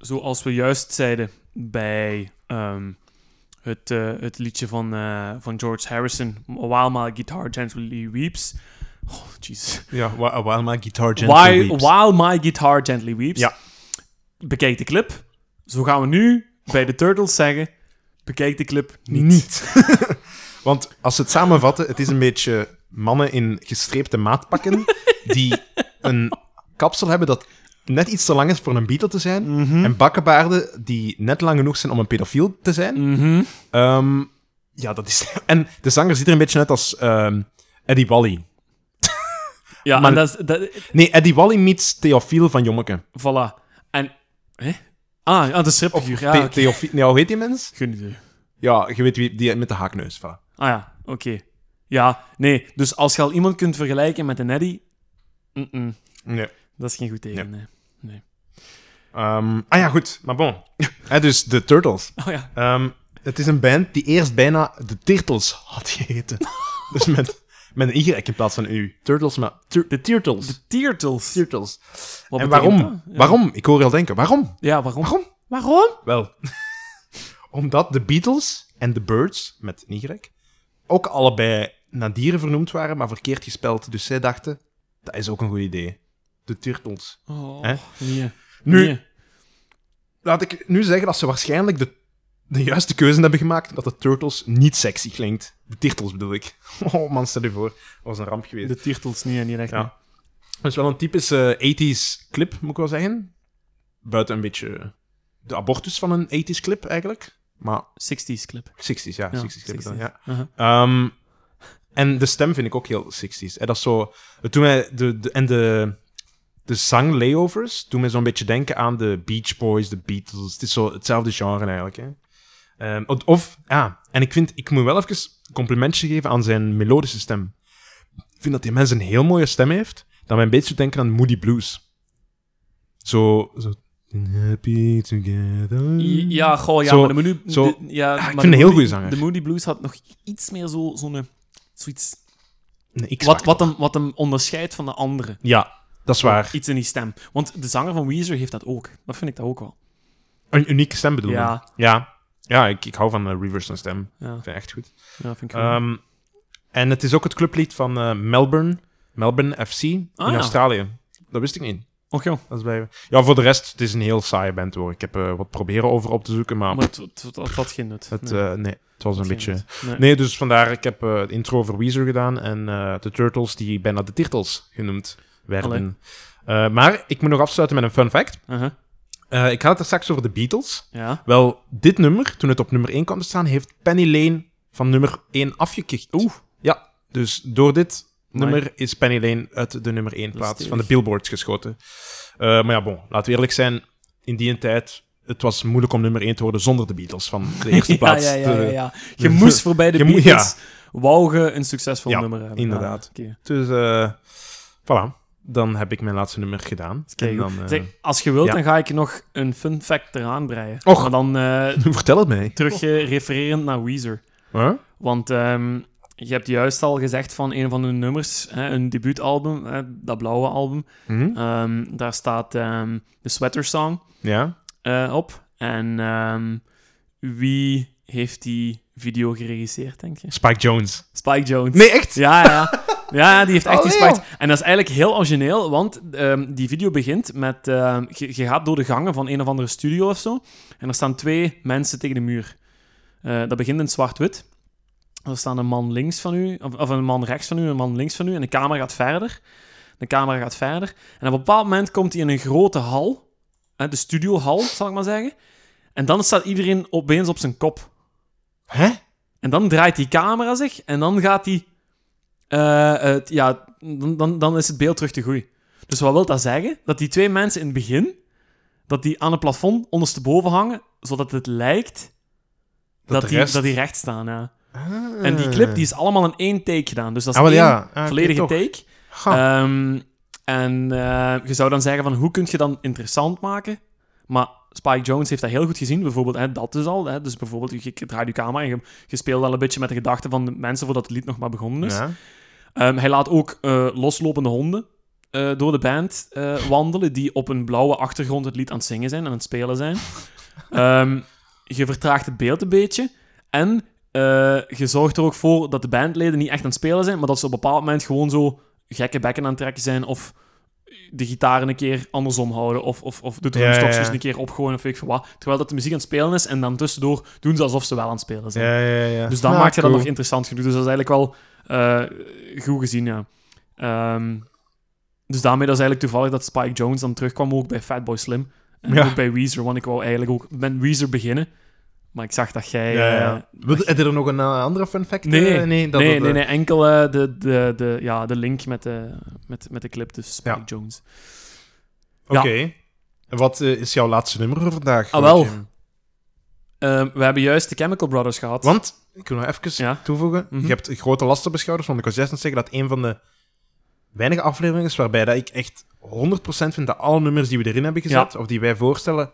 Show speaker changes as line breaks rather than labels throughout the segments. zoals we juist zeiden bij ehm, het, eh, het liedje van, eh, van George Harrison, While My Guitar Gently Weeps. Oh, jeez.
Ja, wa- uh, while my guitar gently
While,
weeps.
While My Guitar Gently Weeps.
Ja.
Bekijk de clip. Zo gaan we nu bij de Turtles zeggen, bekijk de clip niet.
Want als we het samenvatten, het is een beetje mannen in gestreepte maatpakken die een kapsel hebben dat net iets te lang is voor een beetle te zijn.
Mhm.
En bakkenbaarden die net lang genoeg zijn om een pedofiel te zijn.
Mhm.
Ehm, ja, dat is... En de zanger ziet er een beetje uit als ehm, Eddie Wally.
Ja,
Maar-
en dat, is- dat,
Nee, Eddie Wally meets Theofiel van Jommeke.
Voilà. En... Hè? Ah, ja, de stripfiguur. Ja,
The-
oké.
Theofi- Nee, hoe heet die mens?
Geen idee.
Ja, je weet wie, die met de haakneus. voilà.
Ah ja, oké. Ja, nee. Dus als je al iemand kunt vergelijken met een Eddy... mm-mm,
Nee.
dat is geen goed teken, nee.
Ehm, ah ja, goed. Maar bon. Hè, dus de Turtles.
Oh ja.
Ehm, het is een band die eerst bijna de Turtles had geheten. dus met, met een Y in plaats van U. Turtles, maar... Tur- de Turtles.
De Teertels.
Turtles.
Wat betekent
en waarom?
dat? Ja.
Waarom? Ik hoor je al denken. Waarom?
Ja, waarom?
Waarom?
Waarom?
Wel, omdat de Beatles en de Birds, met een Y, ook allebei naar dieren vernoemd waren, maar verkeerd gespeld. Dus zij dachten, dat is ook een goed idee. De Turtles.
Oh,
Hè?
nee.
Nu-
Nee.
Laat ik nu zeggen dat ze waarschijnlijk de, de juiste keuze hebben gemaakt, dat de Turtles niet sexy klinkt. De Turtles bedoel ik. Oh man, stel je voor. Dat was een ramp geweest.
De Teertels, nee, niet echt.
Ja. Dat is wel een typische 80s clip, moet ik wel zeggen. Buiten een beetje de abortus van een 80s clip eigenlijk. Maar
60s clip.
60s, ja. 60s clip dan,
60s.
ja.
Aha.
Ehm, en de stem vind ik ook heel 60s. En dat is zo. Toen wij de, de, en de, de zang layovers doen mij zo'n beetje denken aan de Beach Boys, de Beatles. Het is zo hetzelfde genre eigenlijk. Hè? Ehm, of- of, ah, en ik vind, ik moet wel even een complimentje geven aan zijn melodische stem. Ik vind dat die mens een heel mooie stem heeft, dat mij een beetje doet denken aan Moody Blues. Zo. zo happy together.
Ja, goh, ja,
Zo-
maar de menu...
zo- Ah,
de- ja, maar
vind
de
een heel
Moody-
goede zanger.
De Moody Blues had nog iets meer zo- zo'n... eh, zoiets...
Een
Wat,
X-factor.
wat, hem, wat hem onderscheidt van de anderen.
Ja, dat is waar.
Iets in die stem. Want de zanger van Weezer heeft dat ook. Dat vind ik dat ook wel.
Een unieke stem bedoel je?
Ja.
Ja, ja ik, ik hou van eh, Rivers zijn stem.
Ja.
Ik vind het echt goed.
Ja, vind ik wel.
Ehm, en het is ook het clublied van eh, Melbourne, Melbourne FC in
ja.
Australië. Dat wist ik niet.
Och joh,
Dat is bij... Ja, voor de rest, het is een heel saaie band hoor. Ik heb eh, wat proberen over op te zoeken, maar
maar het, het, het- het had geen nut.
het,
Nee,
eh, nee, het was een
geen
beetje...
nut. Nee.
Nee, dus vandaar, ik heb eh, het intro voor Weezer gedaan en eh, de Turtles, die bijna de Turtles genoemd werden.
Allee.
Eh, maar ik moet nog afsluiten met een fun fact.
Aha.
Eh, ik had het er straks over de Beatles.
Ja.
Wel, dit nummer, toen het op nummer 1 kwam te staan, heeft Penny Lane van nummer 1 afgekikt. Oeh. Ja, dus door dit
Amai.
nummer is Penny Lane uit de nummer 1 plaats
stevig.
van de billboards geschoten. Eh, maar ja, bon, laten we eerlijk zijn. In die tijd, het was moeilijk om nummer 1 te worden zonder de Beatles van de eerste
ja,
plaats.
ja, ja,
te-
ja, ja. Je moest voorbij de
Je moet-
Beatles. Wou je een succesvol
Ja,
nummer hebben.
inderdaad.
Ah, oké.
Dus, eh, voilà. Dan heb ik mijn laatste nummer gedaan. En
Kijk,
dan, eh,
zeg, als je wilt,
ja.
dan ga ik je nog een fun fact eraan breien.
Och.
Maar dan eh,
Vertel het mij.
terug eh, refererend naar Weezer.
Huh?
Want ehm, je hebt juist al gezegd van een van hun nummers, hè, hun debuutalbum, hè, dat blauwe album.
Hm?
ehm, daar staat ehm, de Sweater Song.
Ja?
eh, op. En ehm, wie heeft die video geregisseerd, denk je?
Spike Jones.
Spike Jones.
Nee, echt?
Ja, ja. Ja, ja, die heeft echt die
Allee,
Spike. En dat is eigenlijk heel origineel, want ehm, die video begint met... ehm, je, je gaat door de gangen van een of andere studio of zo. En er staan twee mensen tegen de muur. Eh, dat begint in zwart-wit. Er staan een man links van u, of, of een man rechts van u, een man links van u. En de camera gaat verder. De camera gaat verder. En op een bepaald moment komt hij in een grote hal. hè, De studiohal, zal ik maar zeggen. En dan staat iedereen opeens op zijn kop.
Hè?
En dan draait die camera zich en dan gaat die. eh, het- ja, dan, dan, dan is het beeld terug te groei. Dus wat wil dat zeggen? Dat die twee mensen in het begin. dat die aan het plafond ondersteboven hangen. zodat het lijkt
Dat
dat,
de
die,
rest-
dat die recht staan. Ja. En die clip die is allemaal in één take gedaan. Dus dat is
Ah, wel
één
ja. Ah, oké,
volledige
toch.
take.
Ha.
Ehm, en eh, je zou dan zeggen van hoe kun je dan interessant maken? Maar Spike Jones heeft dat heel goed gezien. Bijvoorbeeld, hè, dat is al. Hè, dus bijvoorbeeld, je, je draait je camera en je, je speelt al een beetje met de gedachten van de mensen voordat het lied nog maar begonnen is.
Ja.
Ehm, hij laat ook eh, loslopende honden eh, door de band eh, wandelen die op een blauwe achtergrond het lied aan het zingen zijn en aan het spelen zijn. Ehm, je vertraagt het beeld een beetje en eh, je zorgt er ook voor dat de bandleden niet echt aan het spelen zijn, maar dat ze op een bepaald moment gewoon zo gekke bekken aan het trekken zijn of de gitaren een keer andersom houden of, of, of de
Ja, ja, ja.
drumstokjes een keer opgooien of weet ik veel wat. Terwijl dat de muziek aan het spelen is en dan tussendoor doen ze alsof ze wel aan het spelen zijn.
Ja, ja, ja.
Dus dan
Ah,
maakt je dat
cool.
nog interessant genoeg. Dus dat is eigenlijk wel eh, goed gezien, ja. Ehm, dus daarmee dat is eigenlijk toevallig dat Spike Jones dan terugkwam ook bij Fatboy Slim. En
Ja.
ook bij Weezer, want ik wou eigenlijk ook met Weezer beginnen. Maar ik zag dat jij...
Ja, ja.
eh,
Wil- Heb je er nog een eh, andere fun fact?
Nee,
Eh,
nee,
dat,
nee,
dat,
nee,
eh,
enkel eh, de, de, de, ja, de link met de, met, met de clip, dus Spike
Ja.
Jones.
Oké. En wat eh, is jouw laatste nummer voor vandaag?
Ah, wel.
Jim?
Ehm, we hebben juist de Chemical Brothers gehad.
Want, ik wil nog even
Ja.
toevoegen.
Mhm.
Je hebt grote lasten beschouders, want ik was juist aan het zeggen dat een van de weinige afleveringen is waarbij dat ik echt 100% vind dat alle nummers die we erin hebben gezet, of die wij voorstellen,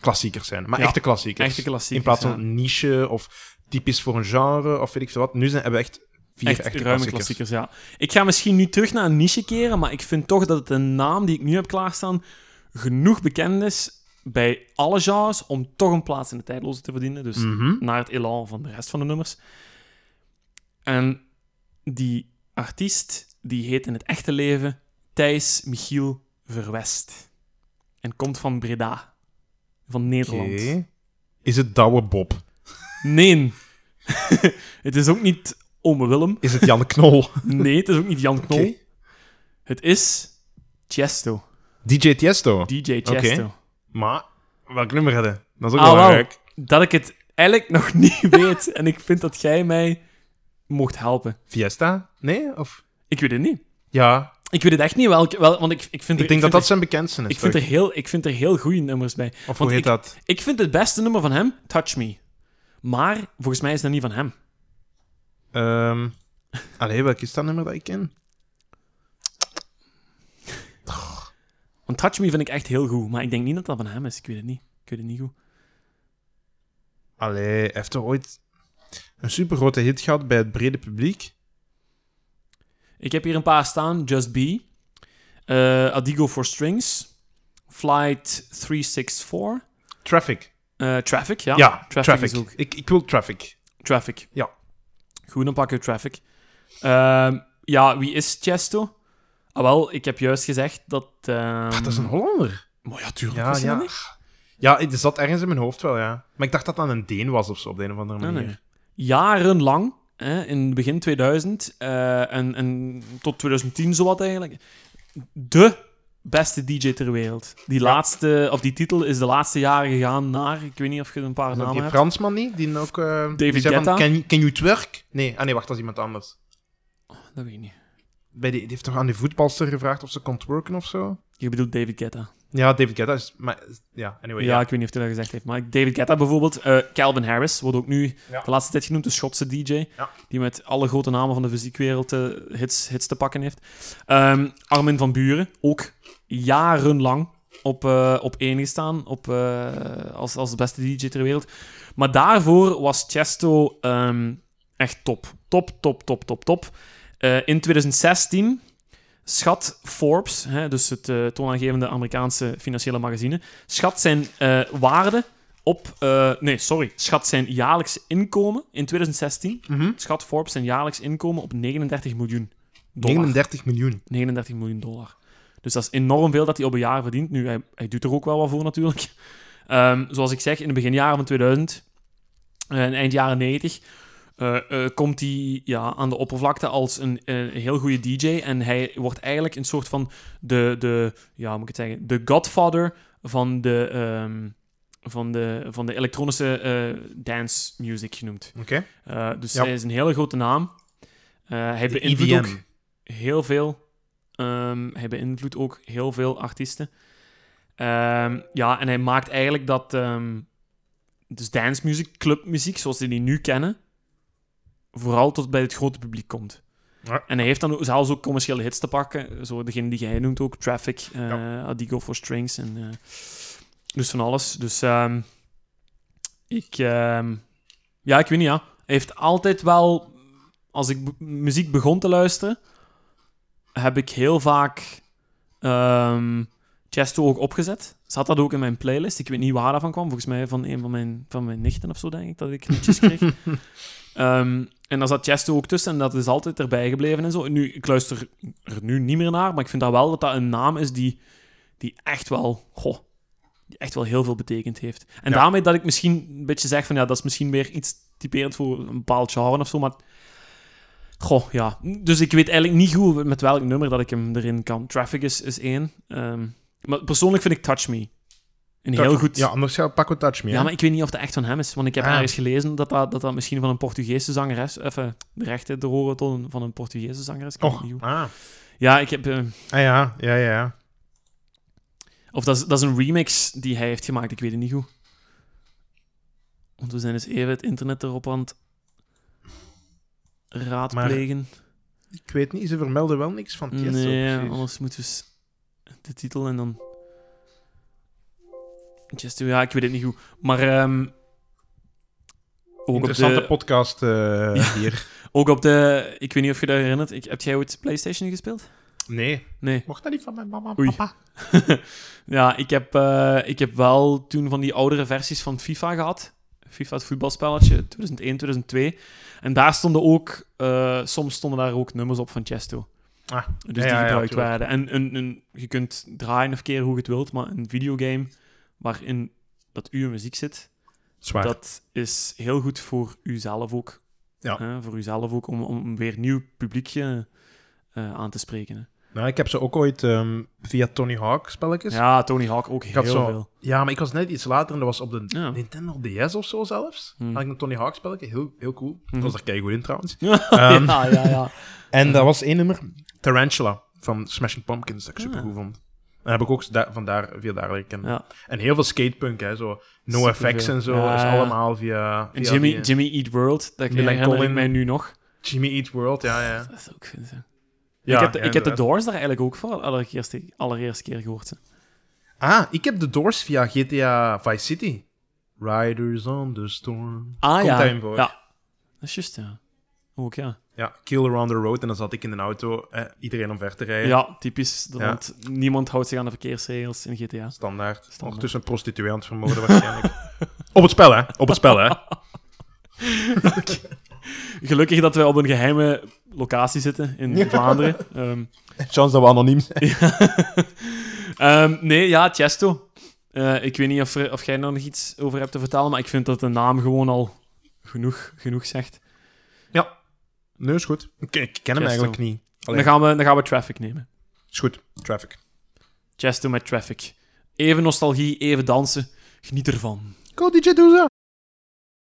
klassiekers zijn. Maar
Ja.
echte klassiekers.
Echte klassiekers,
In plaats van
ja.
niche of typisch voor een genre of weet ik veel wat. Nu zijn, hebben we echt vier
Echt
echte
ruime
klassiekers.
klassiekers. ja. Ik ga misschien nu terug naar een niche keren, maar ik vind toch dat de naam die ik nu heb klaarstaan genoeg bekend is bij alle genres om toch een plaats in de tijdloze te verdienen. Dus
Mhm.
naar het elan van de rest van de nummers. En die artiest, die heet in het echte leven Thijs Michiel Verwest. En komt van Breda. Van Nederland.
Oké. Is het Douwe Bob?
Nee. het is ook niet Ome Willem.
Is het Jan Knol?
Nee, het is ook niet Jan Knol.
Oké.
Het is Chesto.
DJ Tiesto?
DJ
Oké.
Chesto.
Maar, welk nummer hadden? Dat is ook
Ah,
wel
wel.
leuk.
Dat ik het eigenlijk nog niet weet. En ik vind dat jij mij mocht helpen.
Fiesta? Nee? Of...
Ik weet het niet.
Ja,
Ik weet het echt niet welke... Wel, want ik, ik vind er,
ik denk dat
vind
dat
er-
zijn bekendste is.
ik vind, er
toch?
heel, ik vind er heel goede nummers bij.
Of hoe
want
heet
ik,
dat?
ik vind het beste nummer van hem Touch Me. Maar volgens mij is dat niet van hem.
Ehm allee, welk is dat nummer dat ik ken?
Want Touch Me vind ik echt heel goed. Maar ik denk niet dat dat van hem is. Ik weet het niet. Ik weet het niet goed.
Allee, heeft er ooit een supergrote hit gehad bij het brede publiek?
Ik heb hier een paar staan. Just Be. eh, Adigo for Strings. Flight 364.
Traffic.
eh, traffic, ja.
Ja,
Traffic
Traffic.
is ook-
Ik, ik wil Traffic.
Traffic.
Ja.
Goed, dan pakken we Traffic. Ehm, ja, wie is Chesto? Ah, wel, ik heb juist gezegd dat... ehm,
Ah, dat is een Hollander.
Maar ja, tuurlijk
Ja,
is hij
ja.
dat niet.
Ja, het zat ergens in mijn hoofd wel, ja. Maar ik dacht dat dat een Deen was of zo, op de een of andere
Ah, Nee,
manier.
nee. Jarenlang, hè, in begin 2000 eh, en, en tot 2010 zowat eigenlijk, de beste DJ ter wereld. Die laatste, of die titel is de laatste jaren gegaan naar, ik weet niet of je een paar
Is dat
namen
die
hebt.
Fransman niet? Die ook... eh, die
David
zei van,
Guetta?
can, can you twerk? Nee, ah nee, wacht, dat is iemand anders.
Dat weet ik niet.
Bij die, die heeft toch aan die voetbalster gevraagd of ze kon twerken of zo?
Je bedoelt David Guetta.
Ja, David Guetta is... Maar, ja, anyway.
Ja, ik weet niet of hij dat gezegd heeft. Maar David Guetta bijvoorbeeld. eh, Calvin Harris wordt ook nu
Ja.
de laatste tijd genoemd. De Schotse DJ.
Ja.
Die met alle grote namen van de muziekwereld eh, hits, hits te pakken heeft. Ehm, Armin van Buren. Ook jarenlang op, eh, op één gestaan. Op, eh, als, als de beste DJ ter wereld. Maar daarvoor was Chesto ehm, echt top. Top, top, top, top, top. Eh, in 2016 schat Forbes, hè, dus het eh, toonaangevende Amerikaanse financiële magazine, schat zijn eh, waarde op... eh, nee, sorry. Schat zijn jaarlijkse inkomen in 2016.
Mhm.
Schat Forbes zijn jaarlijks inkomen op 39 miljoen dollar.
39 miljoen.
39 miljoen dollar. Dus dat is enorm veel dat hij op een jaar verdient. Nu, hij, hij doet er ook wel wat voor natuurlijk. Ehm, zoals ik zeg, in de beginjaren van 2000 eh, en eind jaren 90 eh, eh, komt hij ja, aan de oppervlakte als een, eh, een heel goede DJ. En hij wordt eigenlijk een soort van de, de ja, hoe moet ik het zeggen, de godfather van de, ehm, van de, van de elektronische eh, dance music genoemd.
Oké.
Eh, dus
Ja.
hij is een hele grote naam. Eh, hij
De E
beïnvloedt ook
EDM.
heel veel. ehm, hij beïnvloedt ook heel veel artiesten. Ehm, ja, en hij maakt eigenlijk dat. ehm, dus dance music, clubmuziek, zoals die die nu kennen, vooral tot bij het grote publiek komt.
Ja.
En hij heeft dan ook- zelfs ook commerciële hits te pakken. Zo degene die jij noemt ook, Traffic, eh Adigo for Strings en. eh, dus van alles. Dus ehm, ik. ehm, ja, ik weet niet, ja. Hij heeft altijd wel. Als ik b- muziek begon te luisteren, heb ik heel vaak ehm Chesto ook opgezet. Zat dat ook in mijn playlist. Ik weet niet waar dat van kwam. Volgens mij van een van mijn, van mijn nichten of zo, denk ik, dat ik liedjes kreeg. Ehm, en daar zat Chesto ook tussen en dat is altijd erbij gebleven en zo. Nu, ik luister er nu niet meer naar, maar ik vind dat wel dat dat een naam is die, die echt wel... Goh, die echt wel heel veel betekend heeft. En
Ja.
daarmee dat ik misschien een beetje zeg van ja, dat is misschien weer iets typerend voor een bepaald genre of zo, maar goh, ja. Dus ik weet eigenlijk niet goed met welk nummer dat ik hem erin kan. Traffic is, is één. Ehm, maar persoonlijk vind ik Touch Me een heel goed...
Ja, anders zou Paco Touch Me.
Ja, maar ik weet niet of dat echt van hem is. Want ik heb
Ah.
ergens gelezen dat dat, dat dat misschien van een Portugese zangeres... Even de rechten te horen tot een- van een Portugese zangeres. Ik weet
Och,
niet hoe.
ah.
Ja, ik heb... eh,
Ah, ja, ja, ja, ja.
Of dat is, dat is een remix die hij heeft gemaakt, ik weet het niet goed. Want we zijn dus even het internet erop aan het raadplegen.
Ik weet niet, ze vermelden wel niks van Tiesto.
nee,
precies.
anders moeten we s- de titel en dan... Chesto, ja, ik weet het niet goed. Maar ehm, ook, op
Interessante
de,
podcast eh, hier.
ook op de... Ik weet niet of je dat herinnert. Ik, heb jij ooit Playstation gespeeld?
Nee,
Nee.
mocht dat niet van mijn mama en
Oei.
papa.
Ja, ik heb, eh, ik heb wel toen van die oudere versies van FIFA gehad. FIFA, het voetbalspelletje, 2001, 2002. En daar stonden ook, eh, soms stonden daar ook nummers op van Chesto.
Ah,
dus die
ja, ja,
gebruikt
tuurlijk.
werden. En een, een, je kunt draaien of keren hoe je het wilt, maar een videogame waarin dat uw muziek zit,
Zwaar.
dat is heel goed voor uzelf ook.
Ja.
Hè, voor uzelf ook, om, om weer nieuw publiekje eh, aan te spreken. hè.
Nou, ik heb ze ook ooit ehm, via Tony Hawk spelletjes.
Ja, Tony Hawk ook
had
heel
zo-
veel.
Ja, maar ik was net iets later en dat was op de
Ja.
Nintendo DS of zo zelfs.
Hmm.
Had ik een Tony Hawk spelletje, heel, heel cool.
Mhm.
Dat was er keigoed in trouwens. Ehm,
ja, ja, ja.
En dat was één nummer, Tarantula, van Smashing Pumpkins, dat ik super goed vond. En heb ik ook da- vandaar, via daar leren kennen.
Ah. ja.
En heel veel skatepunk, hè, zo. No
Superveel.
effects en zo,
Ja,
is
ja.
allemaal via...
En
via
Jimmy,
die- eh,
Jimmy Eat World, dat
Millennium
herinner ik
Colin.
mij nu nog.
Jimmy Eat World, ja, ja.
Dat is ook,
ja
ik heb, de-
ja,
ik heb de
inderdaad.
Doors daar eigenlijk ook voor de allereerste, allereerste keer gehoord. hè.
Ah, ik heb de Doors via GTA Vice City. Riders on the Storm.
Ah
Komt
ja.
daarin voor.
ja. Dat is juist, ja. Ook ja.
Ja, Kill Around the Road. En dan zat ik in een auto, eh, iedereen omver te rijden.
Ja, typisch.
Ja.
Want niemand houdt zich aan de verkeersregels in GTA.
Standaard.
Standaard.
Ondertussen een prostituee aan het vermoorden waarschijnlijk. op het spel, hè. Op het spel, hè.
Gelukkig dat we op een geheime locatie zitten in Vlaanderen. Ehm,
Chance dat we anoniem zijn.
Ehm, nee, ja, Chesto. Eh, ik weet niet of, er- of jij daar nog iets over hebt te vertellen, maar ik vind dat de naam gewoon al genoeg, genoeg zegt.
Nee, is goed. Ik, ik ken hem
Chesto.
eigenlijk niet. Allee.
Dan gaan, we, dan gaan we traffic nemen.
Is goed. Traffic.
Chesto met Traffic. Even nostalgie, even dansen. Geniet ervan.
Go DJ Doeza!